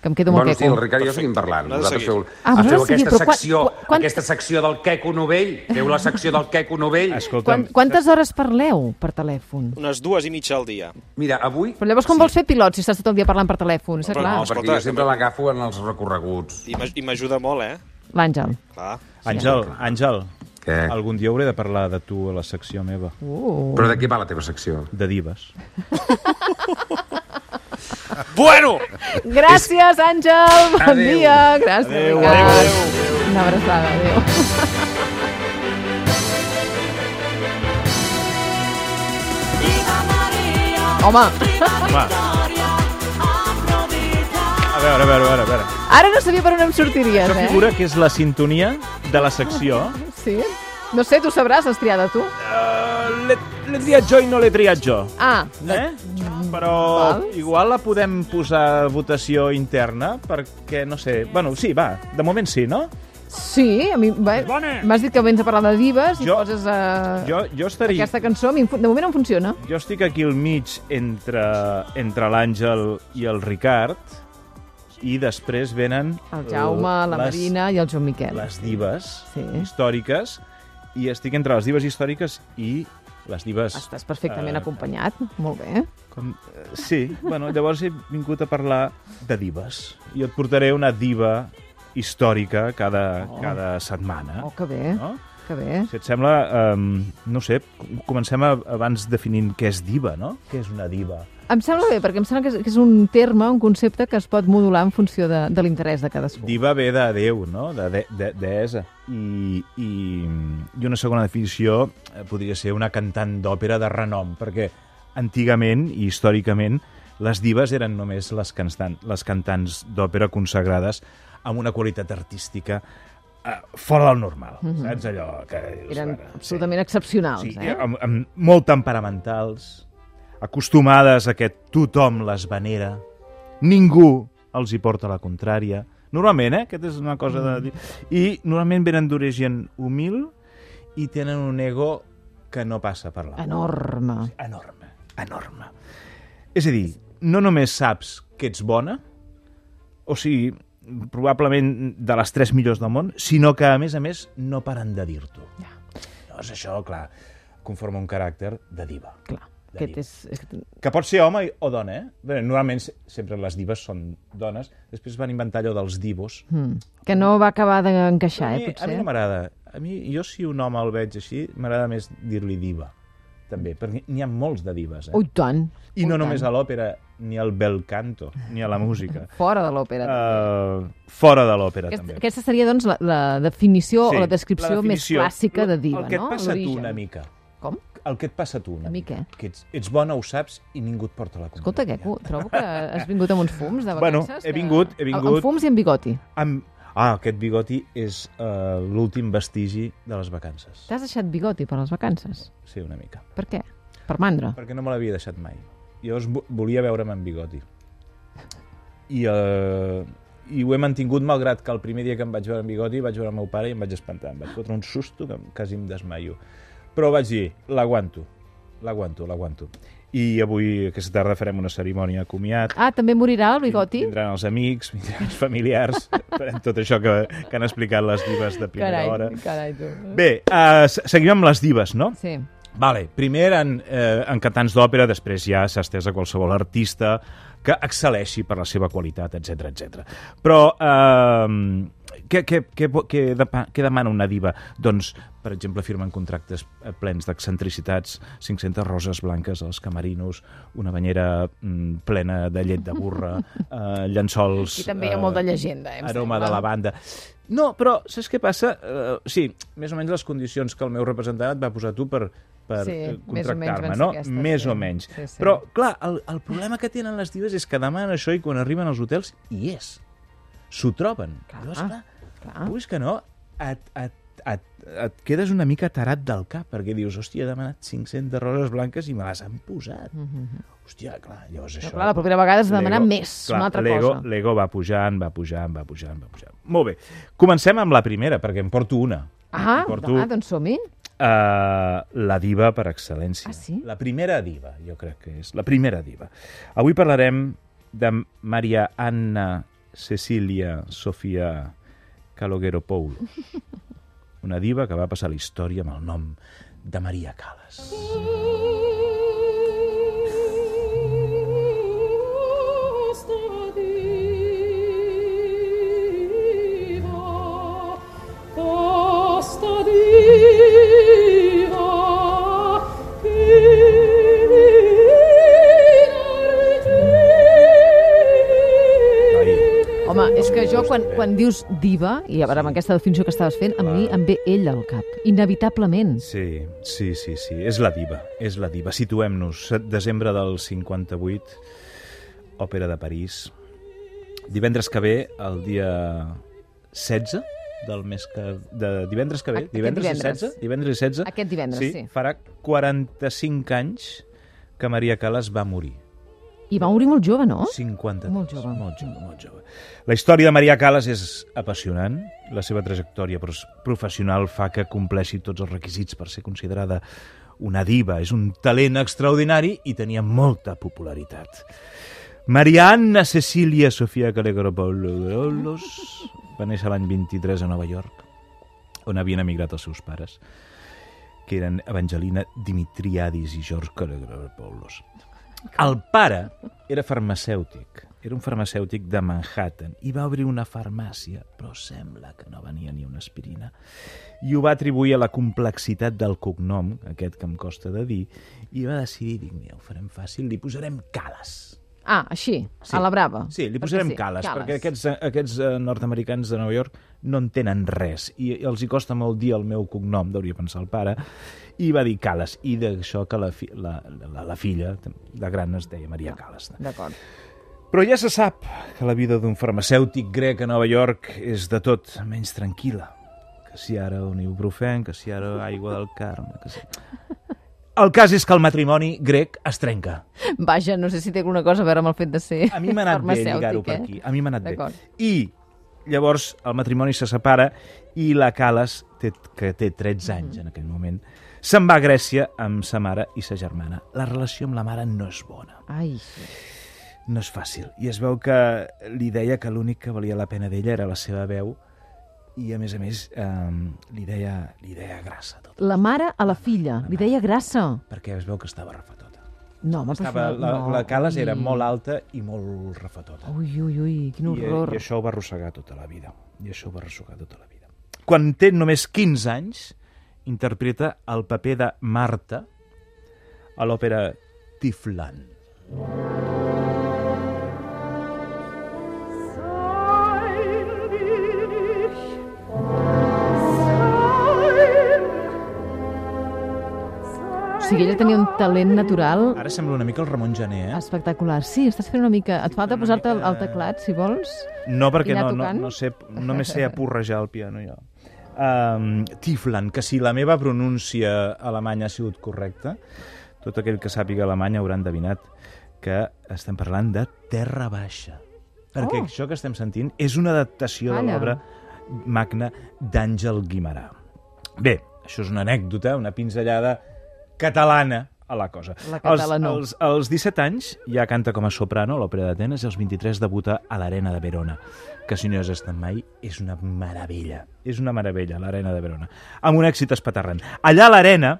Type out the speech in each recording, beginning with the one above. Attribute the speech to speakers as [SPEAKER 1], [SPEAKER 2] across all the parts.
[SPEAKER 1] que em quedo amb el
[SPEAKER 2] Bons dies, el
[SPEAKER 1] queco.
[SPEAKER 2] Ricard i jo seguim parlant.
[SPEAKER 3] No,
[SPEAKER 2] Vosaltres
[SPEAKER 3] seguim.
[SPEAKER 2] feu,
[SPEAKER 1] Ah,
[SPEAKER 2] ah, feu
[SPEAKER 1] vosaltres seguiu,
[SPEAKER 2] aquesta,
[SPEAKER 1] però quan-
[SPEAKER 2] secció,
[SPEAKER 1] quan-
[SPEAKER 2] aquesta secció del queco novell. Feu la secció del queco novell.
[SPEAKER 1] Quan,
[SPEAKER 4] Escolta'm,
[SPEAKER 1] quantes hores parleu per telèfon?
[SPEAKER 3] Unes dues i mitja al dia.
[SPEAKER 2] Mira, avui...
[SPEAKER 1] Però llavors com vols fer pilot si estàs tot el dia parlant per telèfon? Està
[SPEAKER 3] Però
[SPEAKER 1] clar.
[SPEAKER 2] No,
[SPEAKER 3] escolta,
[SPEAKER 2] perquè jo sempre
[SPEAKER 3] que-
[SPEAKER 2] l'agafo en els recorreguts.
[SPEAKER 3] I m'aj- i m'ajuda molt, eh?
[SPEAKER 1] L'Àngel.
[SPEAKER 3] Clar.
[SPEAKER 4] Àngel, Àngel,
[SPEAKER 2] Què?
[SPEAKER 4] algun dia hauré de parlar de tu a la secció meva,
[SPEAKER 1] Uh.
[SPEAKER 2] Però de què va la teva secció?
[SPEAKER 4] de divas.
[SPEAKER 3] Bueno!
[SPEAKER 1] Gràcies, Àngel! Bon
[SPEAKER 2] Adéu.
[SPEAKER 1] dia! Gràcies,
[SPEAKER 3] Adéu,
[SPEAKER 1] Ricard.
[SPEAKER 3] adéu,
[SPEAKER 1] Una abraçada, adéu. Home,
[SPEAKER 4] Va. A veure, a veure, a veure. A veure.
[SPEAKER 1] ara no sabia per on em sortiries,
[SPEAKER 4] Això
[SPEAKER 1] eh?
[SPEAKER 4] figura que és la sintonia de la secció.
[SPEAKER 1] Sí? No sé, tu sabràs, has triada tu.
[SPEAKER 4] Uh, L'he triat jo i no l'he triat jo.
[SPEAKER 1] Ah,
[SPEAKER 4] Eh? Però
[SPEAKER 1] Val.
[SPEAKER 4] igual la podem posar a votació interna perquè, no sé... Bueno, sí, va, de moment sí, no?
[SPEAKER 1] sí, a mi... bé,
[SPEAKER 4] Bona.
[SPEAKER 1] M'has dit que vens a parlar de divas i
[SPEAKER 4] Jo-
[SPEAKER 1] poses eh,
[SPEAKER 4] Jo, jo, estaria,
[SPEAKER 1] aquesta cançó. a mi em fu- De moment em funciona.
[SPEAKER 4] jo estic aquí al mig entre, entre l'Àngel i el Ricard i després venen...
[SPEAKER 1] El Jaume, la
[SPEAKER 4] Oh, les,
[SPEAKER 1] Marina i el Joan Miquel.
[SPEAKER 4] Les divas
[SPEAKER 1] Sí.
[SPEAKER 4] sí. històriques i estic entre les divas històriques i les divas...
[SPEAKER 1] Estàs perfectament
[SPEAKER 4] eh,
[SPEAKER 1] acompanyat, molt bé.
[SPEAKER 4] Com... eh, Sí, bueno, llavors he vingut a parlar de divas. I et portaré una diva històrica cada, oh. cada setmana.
[SPEAKER 1] Oh, que bé,
[SPEAKER 4] No?
[SPEAKER 1] que bé.
[SPEAKER 4] Si et sembla, um, no ho sé, com- comencem a, abans definint què és diva, no? Què és una diva?
[SPEAKER 1] Em sembla bé, perquè em sembla que és, que és un terme, un concepte que es pot modular en funció de, de l'interès de cadascú.
[SPEAKER 4] Diva ve de Déu, no? De, de, de deessa. I, i, I una segona definició eh, podria ser una cantant d'òpera de renom, perquè antigament i històricament les divas eren només les, canstan, les cantants d'òpera consagrades amb una qualitat artística eh, fora del normal, mm -hmm. saps allò que... dius,
[SPEAKER 1] Mhm. Eren
[SPEAKER 4] bueno,
[SPEAKER 1] absolutament excepcionals,
[SPEAKER 4] sí,
[SPEAKER 1] eh?
[SPEAKER 4] amb, amb molt temperamentals, acostumades a que tothom les venera, ningú els hi porta la contrària. Normalment, eh? Aquest és una cosa de... dir. I normalment venen d'origen humil i tenen un ego que no passa per l'altre.
[SPEAKER 1] Enorme.
[SPEAKER 4] Enorme, enorme. És a dir, no només saps que ets bona, o sigui, probablement de les tres millors del món, sinó que, a més a més, no paren de dir-t'ho.
[SPEAKER 1] Ja.
[SPEAKER 4] Llavors, això, clar, conforma un caràcter de diva.
[SPEAKER 1] Clar,
[SPEAKER 4] De
[SPEAKER 1] aquest
[SPEAKER 4] diva.
[SPEAKER 1] és... aquest-
[SPEAKER 4] Que pot ser home i- o dona, eh? Bé, normalment se- sempre les divas són dones. Després van inventar allò dels divos.
[SPEAKER 1] Mm. Que no va acabar d'encaixar,
[SPEAKER 4] a,
[SPEAKER 1] eh,
[SPEAKER 4] mi, a mi
[SPEAKER 1] potser.
[SPEAKER 4] no m'agrada. A mi, jo si un home el veig així, m'agrada més dir-li diva. També, perquè n'hi ha molts de divas, eh?
[SPEAKER 1] Ui, tant.
[SPEAKER 4] I
[SPEAKER 1] Ui,
[SPEAKER 4] no
[SPEAKER 1] tant.
[SPEAKER 4] només a l'òpera, ni al bel canto, ni a la música.
[SPEAKER 1] Fora de l'òpera.
[SPEAKER 4] Uh, fora de l'òpera,
[SPEAKER 1] Aquest,
[SPEAKER 4] també.
[SPEAKER 1] aquesta seria, doncs, la, la definició o la descripció
[SPEAKER 4] la definició.
[SPEAKER 1] més clàssica de
[SPEAKER 4] El-
[SPEAKER 1] diva,
[SPEAKER 4] El que et
[SPEAKER 1] no?
[SPEAKER 4] passa a tu
[SPEAKER 1] L'origen.
[SPEAKER 4] una mica.
[SPEAKER 1] Com?
[SPEAKER 4] El que et passa a tu una,
[SPEAKER 1] A mi què?
[SPEAKER 4] Que ets, ets bona, ho saps, i ningú et porta la contrària.
[SPEAKER 1] Escolta, que trobo que has vingut amb uns fums de
[SPEAKER 4] Bueno,
[SPEAKER 1] vacances.
[SPEAKER 4] he
[SPEAKER 1] que-
[SPEAKER 4] vingut, he vingut.
[SPEAKER 1] Amb fums i amb bigoti.
[SPEAKER 4] Amb... Ah, aquest bigoti és uh, l'últim vestigi de les vacances.
[SPEAKER 1] T'has deixat bigoti per les vacances?
[SPEAKER 4] Sí, una mica.
[SPEAKER 1] Per què? Per mandra.
[SPEAKER 4] Perquè no me l'havia deixat mai. Llavors vo- volia veure'm amb bigoti. I, uh, I ho he mantingut malgrat que el primer dia que em vaig veure amb bigoti vaig veure el meu pare i em vaig espantar. Em vaig fotre un susto que em- quasi em desmaio. Però vaig dir, l'aguanto, l'aguanto, l'aguanto. I avui, aquesta tarda, farem una cerimònia de comiat.
[SPEAKER 1] Ah, també morirà el bigoti?
[SPEAKER 4] Vindran els amics, vindran els familiars, farem tot això que, que han explicat les divas de primera
[SPEAKER 1] Carai,
[SPEAKER 4] hora.
[SPEAKER 1] carai, tu.
[SPEAKER 4] Bé, uh, seguim amb les divas, no?
[SPEAKER 1] Sí.
[SPEAKER 4] Vale, primer en, eh, en cantants d'òpera, després ja s'ha estès a qualsevol artista que excel·leixi per la seva qualitat, etc etc. Però eh, què, què, què, vo- què, depa- què demana una diva? Doncs, per exemple, firmen contractes eh, plens d'excentricitats, 500 roses blanques als camerinos, una banyera mm, plena de llet de burra, eh, llençols...
[SPEAKER 1] I també hi ha molta llegenda, eh, em
[SPEAKER 4] Aroma
[SPEAKER 1] sembla.
[SPEAKER 4] de lavanda. No, però saps què passa? Uh, sí, més o menys les condicions que el meu representant et va posar tu per, per
[SPEAKER 1] Sí,
[SPEAKER 4] eh,
[SPEAKER 1] més o menys van
[SPEAKER 4] contractar-me,
[SPEAKER 1] ser
[SPEAKER 4] no?
[SPEAKER 1] aquestes,
[SPEAKER 4] més
[SPEAKER 1] sí.
[SPEAKER 4] o menys.
[SPEAKER 1] Sí, sí.
[SPEAKER 4] Però, clar, el, el problema que tenen les divas és que demanen això i quan arriben als hotels, hi és. S'ho troben.
[SPEAKER 1] Clar, Ah.
[SPEAKER 4] Llavors, clar,
[SPEAKER 1] clar.
[SPEAKER 4] vulguis que no, et, et, et, et quedes una mica tarat del cap, perquè dius, hòstia, he demanat 500 roses blanques i me les han posat. Mm -hmm. Hòstia, clar, llavors
[SPEAKER 1] Mm-hmm.
[SPEAKER 4] això...
[SPEAKER 1] Però, clar, la propera vegada has de demanar
[SPEAKER 4] L'ego-
[SPEAKER 1] més, una altra
[SPEAKER 4] l'ego-
[SPEAKER 1] cosa.
[SPEAKER 4] L'ego va pujant, va pujant, va pujant, va pujant. Molt bé. Comencem amb la primera, perquè en porto una.
[SPEAKER 1] Ah,
[SPEAKER 4] Em porto
[SPEAKER 1] ah, doncs som-hi.
[SPEAKER 4] eh, la diva per excel·lència.
[SPEAKER 1] Ah, sí?
[SPEAKER 4] La primera diva, jo crec que és. La primera diva. Avui parlarem de Maria Anna Cecília Sofia Calogueropoulou, una diva que va passar a la història amb el nom de Maria Callas.
[SPEAKER 5] Costa diva,
[SPEAKER 4] Ai.
[SPEAKER 1] Home, és que jo, quan, quan dius diva, i a veure, amb aquesta definició que estaves fent, a mi em ve ella al cap, inevitablement.
[SPEAKER 4] Sí, sí, sí, sí. És la diva, és la diva. Situem-nos. 7 de desembre del 58, Òpera de París. Divendres que ve, el dia 16 del mes que... De divendres que ve,
[SPEAKER 1] Aquest
[SPEAKER 4] divendres,
[SPEAKER 1] divendres.
[SPEAKER 4] i 16, divendres i 16.
[SPEAKER 1] Aquest divendres, sí.
[SPEAKER 4] Farà 45 anys que Maria Callas va morir.
[SPEAKER 1] I va morir molt jove, no?
[SPEAKER 4] 53.
[SPEAKER 1] Molt jove.
[SPEAKER 4] Molt jove, molt jove. La història de Maria Callas és apassionant. La seva trajectòria pros- professional fa que compleixi tots els requisits per ser considerada una diva. És un talent extraordinari i tenia molta popularitat. Maria Anna Cecília Sofia Calegropolos va néixer l'any 23 a Nova York, on havien emigrat els seus pares, que eren Evangelina Dimitriadis i George Calegropolos. El pare era farmacèutic, era un farmacèutic de Manhattan i va obrir una farmàcia, però sembla que no venia ni una aspirina. I ho va atribuir a la complexitat del cognom, aquest que em costa de dir, i va decidir, dic, mira, ho farem fàcil, li posarem cales.
[SPEAKER 1] Ah, així, sí. a la brava.
[SPEAKER 4] Sí, li
[SPEAKER 1] Perquè
[SPEAKER 4] posarem cales, perquè aquests, aquests eh, nord-americans de Nova York no entenen res i els hi costa molt dir el meu cognom, deuria pensar el pare, i va dir cales, i d'això que la, fi, la, la, la filla de gran es deia Maria Cales.
[SPEAKER 1] D'acord.
[SPEAKER 4] Però ja se sap que la vida d'un farmacèutic grec a Nova York és de tot menys tranquil·la. Que si ara un ibuprofen, que si ara aigua del Carme... Que si... El cas és que el matrimoni grec es trenca.
[SPEAKER 1] Vaja, no sé si té alguna cosa a veure amb el fet de ser
[SPEAKER 4] A mi m'ha anat bé
[SPEAKER 1] farmacèutic,
[SPEAKER 4] lligar-ho per
[SPEAKER 1] eh?
[SPEAKER 4] aquí. A mi m'ha anat bé.
[SPEAKER 1] D'acord.
[SPEAKER 4] I llavors el matrimoni se separa i la Cales, té, que té 13 anys
[SPEAKER 1] Mm-hmm.
[SPEAKER 4] en aquell moment, se'n va a Grècia amb sa mare i sa germana. La relació amb la mare no és bona,
[SPEAKER 1] Ai,
[SPEAKER 4] no és fàcil. I es veu que li deia que l'únic que valia la pena d'ella era la seva veu i, a més a més, eh, li, deia, li deia grassa tot,
[SPEAKER 1] la mare a la filla, li deia grassa.
[SPEAKER 4] perquè es veu que estava refatota.
[SPEAKER 1] No, home, però
[SPEAKER 4] Estava,
[SPEAKER 1] això
[SPEAKER 4] la,
[SPEAKER 1] no.
[SPEAKER 4] la Cales era
[SPEAKER 1] Ui.
[SPEAKER 4] molt alta i molt refatota.
[SPEAKER 1] Ui, ui, ui, quin horror.
[SPEAKER 4] I, I això ho va arrossegar tota la vida. I això ho va arrossegar tota la vida. Quan té només 15 anys, interpreta el paper de Marta a l'òpera Tiflan.
[SPEAKER 1] O sigui, ella tenia un talent natural
[SPEAKER 4] Ara sembla una mica el Ramon Gené, eh?
[SPEAKER 1] espectacular. Sí, estàs fent una mica... Et falta
[SPEAKER 4] una
[SPEAKER 1] posar-te al
[SPEAKER 4] mica-
[SPEAKER 1] al teclat, si vols.
[SPEAKER 4] No, perquè
[SPEAKER 1] Anar
[SPEAKER 4] no, no,
[SPEAKER 1] tocant?
[SPEAKER 4] no, sé, només sé apurrejar el piano jo. Um, Tiflan, que si la meva pronúncia alemanya ha sigut correcta, tot aquell que sàpiga alemany haurà endevinat que estem parlant de Terra Baixa. Perquè
[SPEAKER 1] Oh.
[SPEAKER 4] oh. això que estem sentint és una adaptació
[SPEAKER 1] Calla.
[SPEAKER 4] de l'obra magna d'Àngel Guimarà. Bé, això és una anècdota, una pinzellada catalana a la cosa.
[SPEAKER 1] La catalana.
[SPEAKER 4] Als, als, als 17 anys ja canta com a soprano a l'Òpera d'Atenes i als 23 debuta a l'Arena de Verona, que si no has estat mai és una meravella. És una meravella, l'Arena de Verona. Amb un èxit espaterrant. Allà a l'Arena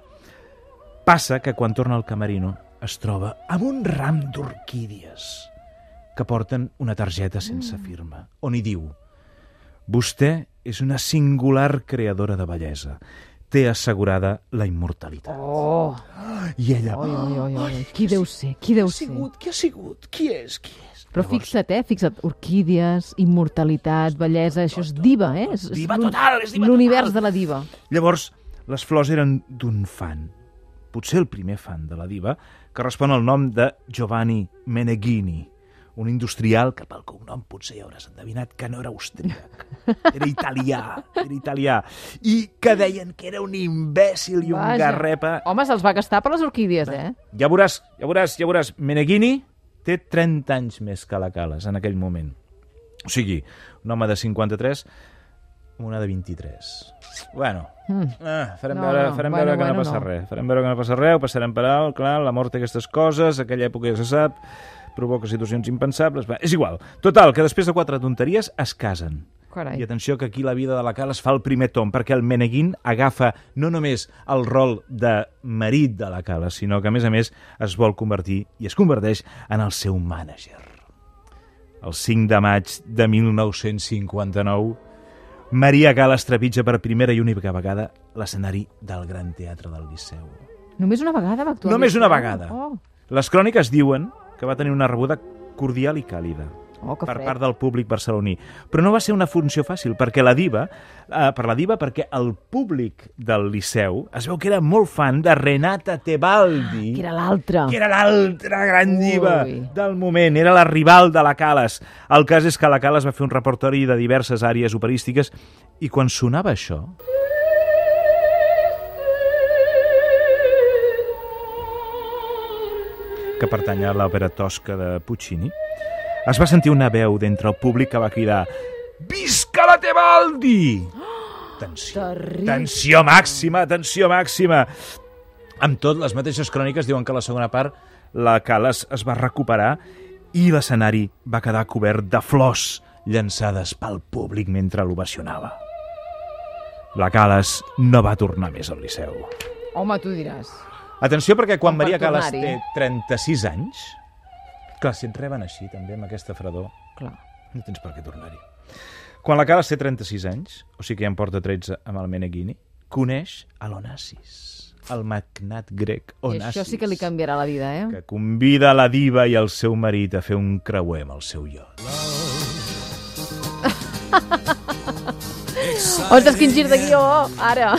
[SPEAKER 4] passa que quan torna al camerino es troba amb un ram d'orquídies que porten una targeta sense firma, on hi diu Vostè és una singular creadora de bellesa. Té assegurada la immortalitat.
[SPEAKER 1] Oh,
[SPEAKER 4] I ella...
[SPEAKER 1] oi, oi, oi, oi. Qui deu ser? Qui deu
[SPEAKER 4] Qui ha
[SPEAKER 1] ser?
[SPEAKER 4] sigut? Qui ha sigut? Qui és? Qui és?
[SPEAKER 1] Però fixa't, eh? Fixa't, orquídies, immortalitat, bellesa, això és diva, eh? És, és
[SPEAKER 4] Diva
[SPEAKER 1] l'un-
[SPEAKER 4] total, és diva
[SPEAKER 1] L'univers
[SPEAKER 4] total.
[SPEAKER 1] de la diva.
[SPEAKER 4] Llavors, les flors eren d'un fan, potser el primer fan de la diva, que respon al nom de Giovanni Meneghini, un industrial que pel cognom potser ja hauràs endevinat que no era austríac, era italià, era italià, i que deien que era un imbècil i un
[SPEAKER 1] Vaja.
[SPEAKER 4] garrepa.
[SPEAKER 1] Home, se'ls va gastar per les orquídies, eh?
[SPEAKER 4] Ja veuràs, ja veuràs, ja veuràs. Meneghini té 30 anys més que la Cales en aquell moment. O sigui, un home de 53 amb una de 23. Bueno, ah, farem
[SPEAKER 1] Hmm. No,
[SPEAKER 4] veure,
[SPEAKER 1] no,
[SPEAKER 4] farem
[SPEAKER 1] bueno,
[SPEAKER 4] veure que
[SPEAKER 1] bueno,
[SPEAKER 4] no passa
[SPEAKER 1] no.
[SPEAKER 4] res. Farem veure que no passa res, ho passarem per alt, clar, la mort té aquestes coses, aquella època ja se sap, provoca situacions impensables... Va, és igual. Total, que després de quatre tonteries es casen.
[SPEAKER 1] Carai.
[SPEAKER 4] I atenció que aquí la vida de la Cal es fa el primer tom, perquè el Meneguin agafa no només el rol de marit de la Cala, sinó que, a més a més, es vol convertir i es converteix en el seu mànager. El 5 de maig de 1959, Maria Calas trepitja per primera i única vegada l'escenari del Gran Teatre del Liceu.
[SPEAKER 1] Només una vegada va actuar?
[SPEAKER 4] Només una vegada.
[SPEAKER 1] Oh,
[SPEAKER 4] Les cròniques diuen que va tenir una rebuda cordial i càlida
[SPEAKER 1] oh que
[SPEAKER 4] per
[SPEAKER 1] fred.
[SPEAKER 4] part del públic barceloní. Però no va ser una funció fàcil, perquè la diva, eh, per la diva, perquè el públic del Liceu es veu que era molt fan de Renata Tebaldi,
[SPEAKER 1] Que era l'altre.
[SPEAKER 4] que era l'altra gran diva
[SPEAKER 1] Ah, Ui.
[SPEAKER 4] del moment, era la rival de la Calas. El cas és que la Calas va fer un repertori de diverses àrees operístiques i quan sonava això, que pertany a l'òpera tosca de Puccini, es va sentir una veu d'entre el públic que va cridar «Visca la Tebaldi!» Tensió,
[SPEAKER 1] Terrible.
[SPEAKER 4] tensió màxima, tensió màxima. Amb tot, les mateixes cròniques diuen que a la segona part la Calas es va recuperar i l'escenari va quedar cobert de flors llançades pel públic mentre l'ovacionava. La Calas no va tornar més al Liceu.
[SPEAKER 1] Home, tu diràs.
[SPEAKER 4] Atenció, perquè quan
[SPEAKER 1] Com per
[SPEAKER 4] Maria Calas
[SPEAKER 1] tornar-hi.
[SPEAKER 4] té 36 anys, clar, si et reben així, també, amb aquesta fredor,
[SPEAKER 1] Clar.
[SPEAKER 4] no tens per què tornar-hi. Quan la Calas té 36 anys, o sigui que ja en porta 13 amb el Meneghini, coneix a l'Onassis, el magnat grec
[SPEAKER 1] I
[SPEAKER 4] Onassis,
[SPEAKER 1] això sí que li canviarà la vida, eh?
[SPEAKER 4] que convida la diva i el seu marit a fer un creuer amb el seu iot.
[SPEAKER 1] Ostres, quin gir de guió, ara!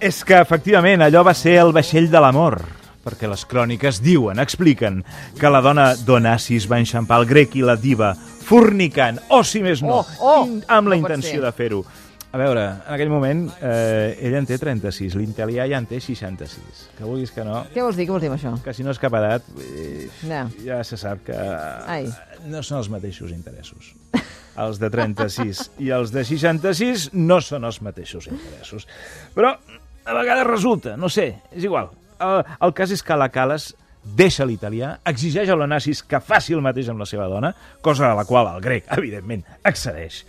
[SPEAKER 4] És que, efectivament, allò va ser el vaixell de l'amor, perquè les cròniques diuen, expliquen, que la dona d'Onassis va enxampar el grec i la diva fornicant, o si més no,
[SPEAKER 1] Oh, oh,
[SPEAKER 4] in- amb la
[SPEAKER 1] no pot
[SPEAKER 4] intenció
[SPEAKER 1] ser.
[SPEAKER 4] de fer-ho. A veure, en aquell moment eh, ell en té 36, l'italià ja en té 66. Que vulguis que no,
[SPEAKER 1] Què vols dir? Què vols dir amb això?
[SPEAKER 4] que si no és cap edat, eh,
[SPEAKER 1] No.
[SPEAKER 4] ja se sap que
[SPEAKER 1] Ai.
[SPEAKER 4] no són els mateixos interessos. Els de 36 i els de 66 no són els mateixos interessos. Però a vegades resulta, no sé, és igual. El, el cas és que la Calas deixa l'italià, exigeix a l'Onassis que faci el mateix amb la seva dona, cosa a la qual el grec, evidentment, accedeix.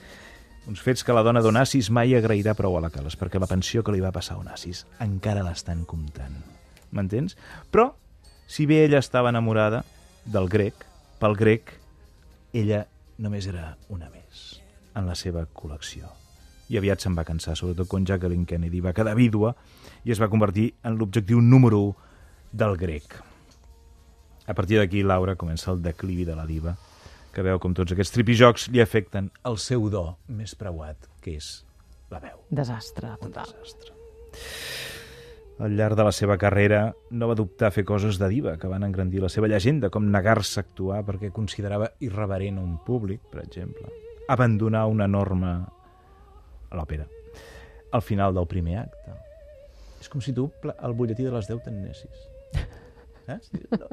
[SPEAKER 4] Uns fets que la dona d'Onassis mai agrairà prou a la Calas, perquè la pensió que li va passar a Onassis encara l'estan comptant. M'entens? Però, si bé ella estava enamorada del grec, pel grec, ella només era una més en la seva col·lecció. I aviat se'n va cansar, sobretot quan Jacqueline Kennedy va quedar vídua i es va convertir en l'objectiu número 1 del grec. A partir d'aquí, Laura comença el declivi de la diva, que veu com tots aquests tripijocs li afecten el seu do més preuat, que és la veu.
[SPEAKER 1] Desastre,
[SPEAKER 4] Un
[SPEAKER 1] total.
[SPEAKER 4] desastre. Al llarg de la seva carrera no va dubtar a fer coses de diva que van engrandir la seva llegenda, com negar-se a actuar perquè considerava irreverent un públic, per exemple. Abandonar una norma a l'òpera al final del primer acte. És com si tu pla- al butlletí de les 10 t'anessis. Saps? Dius, No,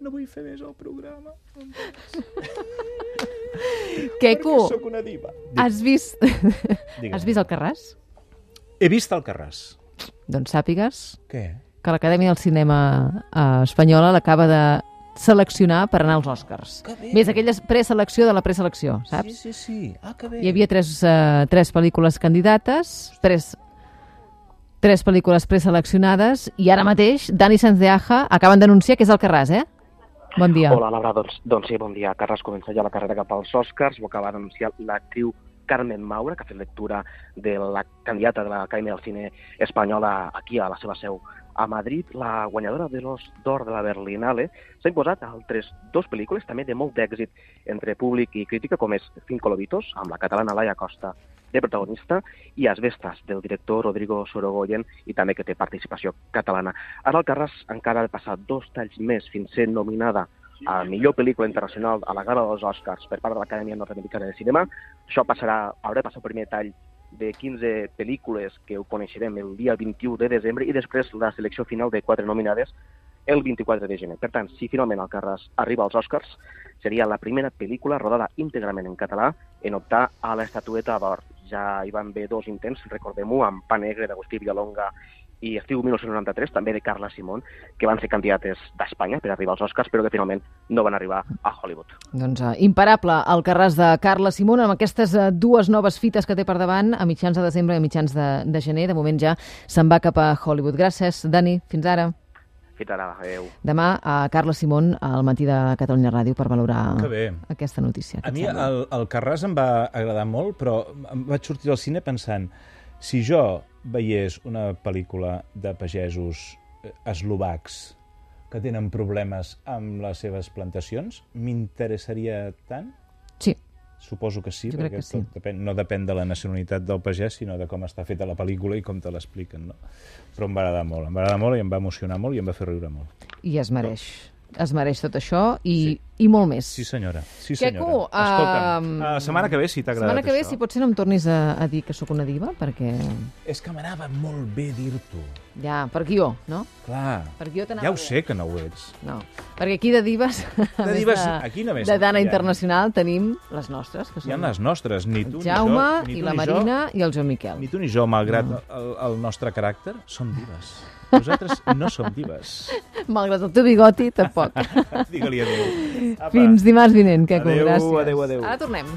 [SPEAKER 4] no vull fer més el programa perquè
[SPEAKER 1] Queco,
[SPEAKER 4] sóc una diva.
[SPEAKER 1] has vist...
[SPEAKER 4] Digue'm.
[SPEAKER 1] Has vist el Carràs?
[SPEAKER 4] He vist el Carràs.
[SPEAKER 1] Doncs sàpigues
[SPEAKER 4] Què?
[SPEAKER 1] que l'Acadèmia del Cinema eh, Espanyola l'acaba de seleccionar per anar als Oscars. Més aquella preselecció de la preselecció, saps?
[SPEAKER 4] Sí, sí. Ah, que bé.
[SPEAKER 1] Hi havia tres, eh, tres pel·lícules candidates, tres, tres pel·lícules preseleccionades, i ara mateix Dani Sanz de Aja acaben d'anunciar que és el Carràs, eh? Bon dia.
[SPEAKER 6] Hola, Laura, doncs, doncs sí, bon dia. Carles comença ja la carrera cap als Oscars, ho acaba d'anunciar l'actriu Carmen Maura, que ha fet lectura de la candidata de l'Acadèmia del Cine Espanyola aquí a la seva seu a Madrid. La guanyadora de l'Os d'Or de la Berlinale s'ha imposat a altres dos pel·lícules també de molt d'èxit entre públic i crítica, com és Cinco Lobitos, amb la catalana Laia Costa de protagonista, i Asbestas, del director Rodrigo Sorogoyen, i també que té participació catalana. Ara el Carles encara ha de passar dos talls més fins ser nominada a millor pel·lícula internacional a la gala dels Oscars per part de l'Acadèmia Nord-Americana de Cinema. Això passarà, haurà passat el primer tall de 15 pel·lícules que ho coneixerem el dia 21 de desembre i després la selecció final de quatre nominades el 24 de gener. Per tant, si finalment el Carles arriba als Oscars, seria la primera pel·lícula rodada íntegrament en català en optar a l'estatueta d'or. Ja hi van haver dos intents, recordem-ho, amb Pa Negre d'Agustí Villalonga i Estiu 1993, també de Carla Simón, que van ser candidates d'Espanya per arribar als Oscars, però que finalment no van arribar a Hollywood.
[SPEAKER 1] Doncs uh, imparable el Carràs de Carla Simón amb aquestes uh, dues noves fites que té per davant a mitjans de desembre i a mitjans de, de gener. De moment ja se'n va cap a Hollywood. Gràcies, Dani. Fins ara.
[SPEAKER 6] Fins ara, adeu.
[SPEAKER 1] Demà a Carla Simón al matí de Catalunya Ràdio per valorar
[SPEAKER 4] Que bé.
[SPEAKER 1] aquesta notícia.
[SPEAKER 4] A
[SPEAKER 1] Què et
[SPEAKER 4] mi
[SPEAKER 1] sembla?
[SPEAKER 4] el, el Carràs em va agradar molt, però em vaig sortir del cine pensant si jo veiés una pel·lícula de pagesos eh, eslovacs que tenen problemes amb les seves plantacions, m'interessaria tant?
[SPEAKER 1] Sí,
[SPEAKER 4] Suposo que sí,
[SPEAKER 1] Jo crec
[SPEAKER 4] perquè
[SPEAKER 1] que sí.
[SPEAKER 4] tot depèn, no depèn de la nacionalitat del pagès, sinó de com està feta la pel·lícula i com te l'expliquen. No? Però em va agradar molt, em va agradar molt i em va emocionar molt i em va fer riure molt.
[SPEAKER 1] i es mereix. Es mereix tot això i, i molt més.
[SPEAKER 4] Sí, senyora. Sí,
[SPEAKER 1] Queco,
[SPEAKER 4] senyora. Escolta'm,
[SPEAKER 1] ehm,
[SPEAKER 4] la Ah, setmana que ve, si t'ha agradat
[SPEAKER 1] Setmana que ve,
[SPEAKER 4] això.
[SPEAKER 1] si potser no em tornis a, a dir que sóc una diva, perquè
[SPEAKER 4] És que m'anava molt bé dir-t'ho.
[SPEAKER 1] ja, per guió, no?
[SPEAKER 4] Clar.
[SPEAKER 1] Per guió t'anava
[SPEAKER 4] Ja ho
[SPEAKER 1] bé.
[SPEAKER 4] sé que no ho ets.
[SPEAKER 1] No, perquè aquí de dives, a més
[SPEAKER 4] dives, aquí només
[SPEAKER 1] de Dana
[SPEAKER 4] hi ha.
[SPEAKER 1] Internacional, tenim les nostres, que
[SPEAKER 4] Hi ha
[SPEAKER 1] són
[SPEAKER 4] les nostres, ni tu
[SPEAKER 1] Jaume
[SPEAKER 4] ni jo. Ni tu,
[SPEAKER 1] i la
[SPEAKER 4] ni
[SPEAKER 1] Marina i el Joan
[SPEAKER 4] Jo,
[SPEAKER 1] Miquel.
[SPEAKER 4] ni tu ni jo, malgrat el, el nostre caràcter, som dives. Nosaltres no som dives.
[SPEAKER 1] Malgrat el teu bigoti, tampoc.
[SPEAKER 4] Digue-li adéu. Apa.
[SPEAKER 1] Fins dimarts vinent, Queco,
[SPEAKER 4] Adéu,
[SPEAKER 1] gràcies.
[SPEAKER 4] adéu, adéu.
[SPEAKER 1] Ara tornem.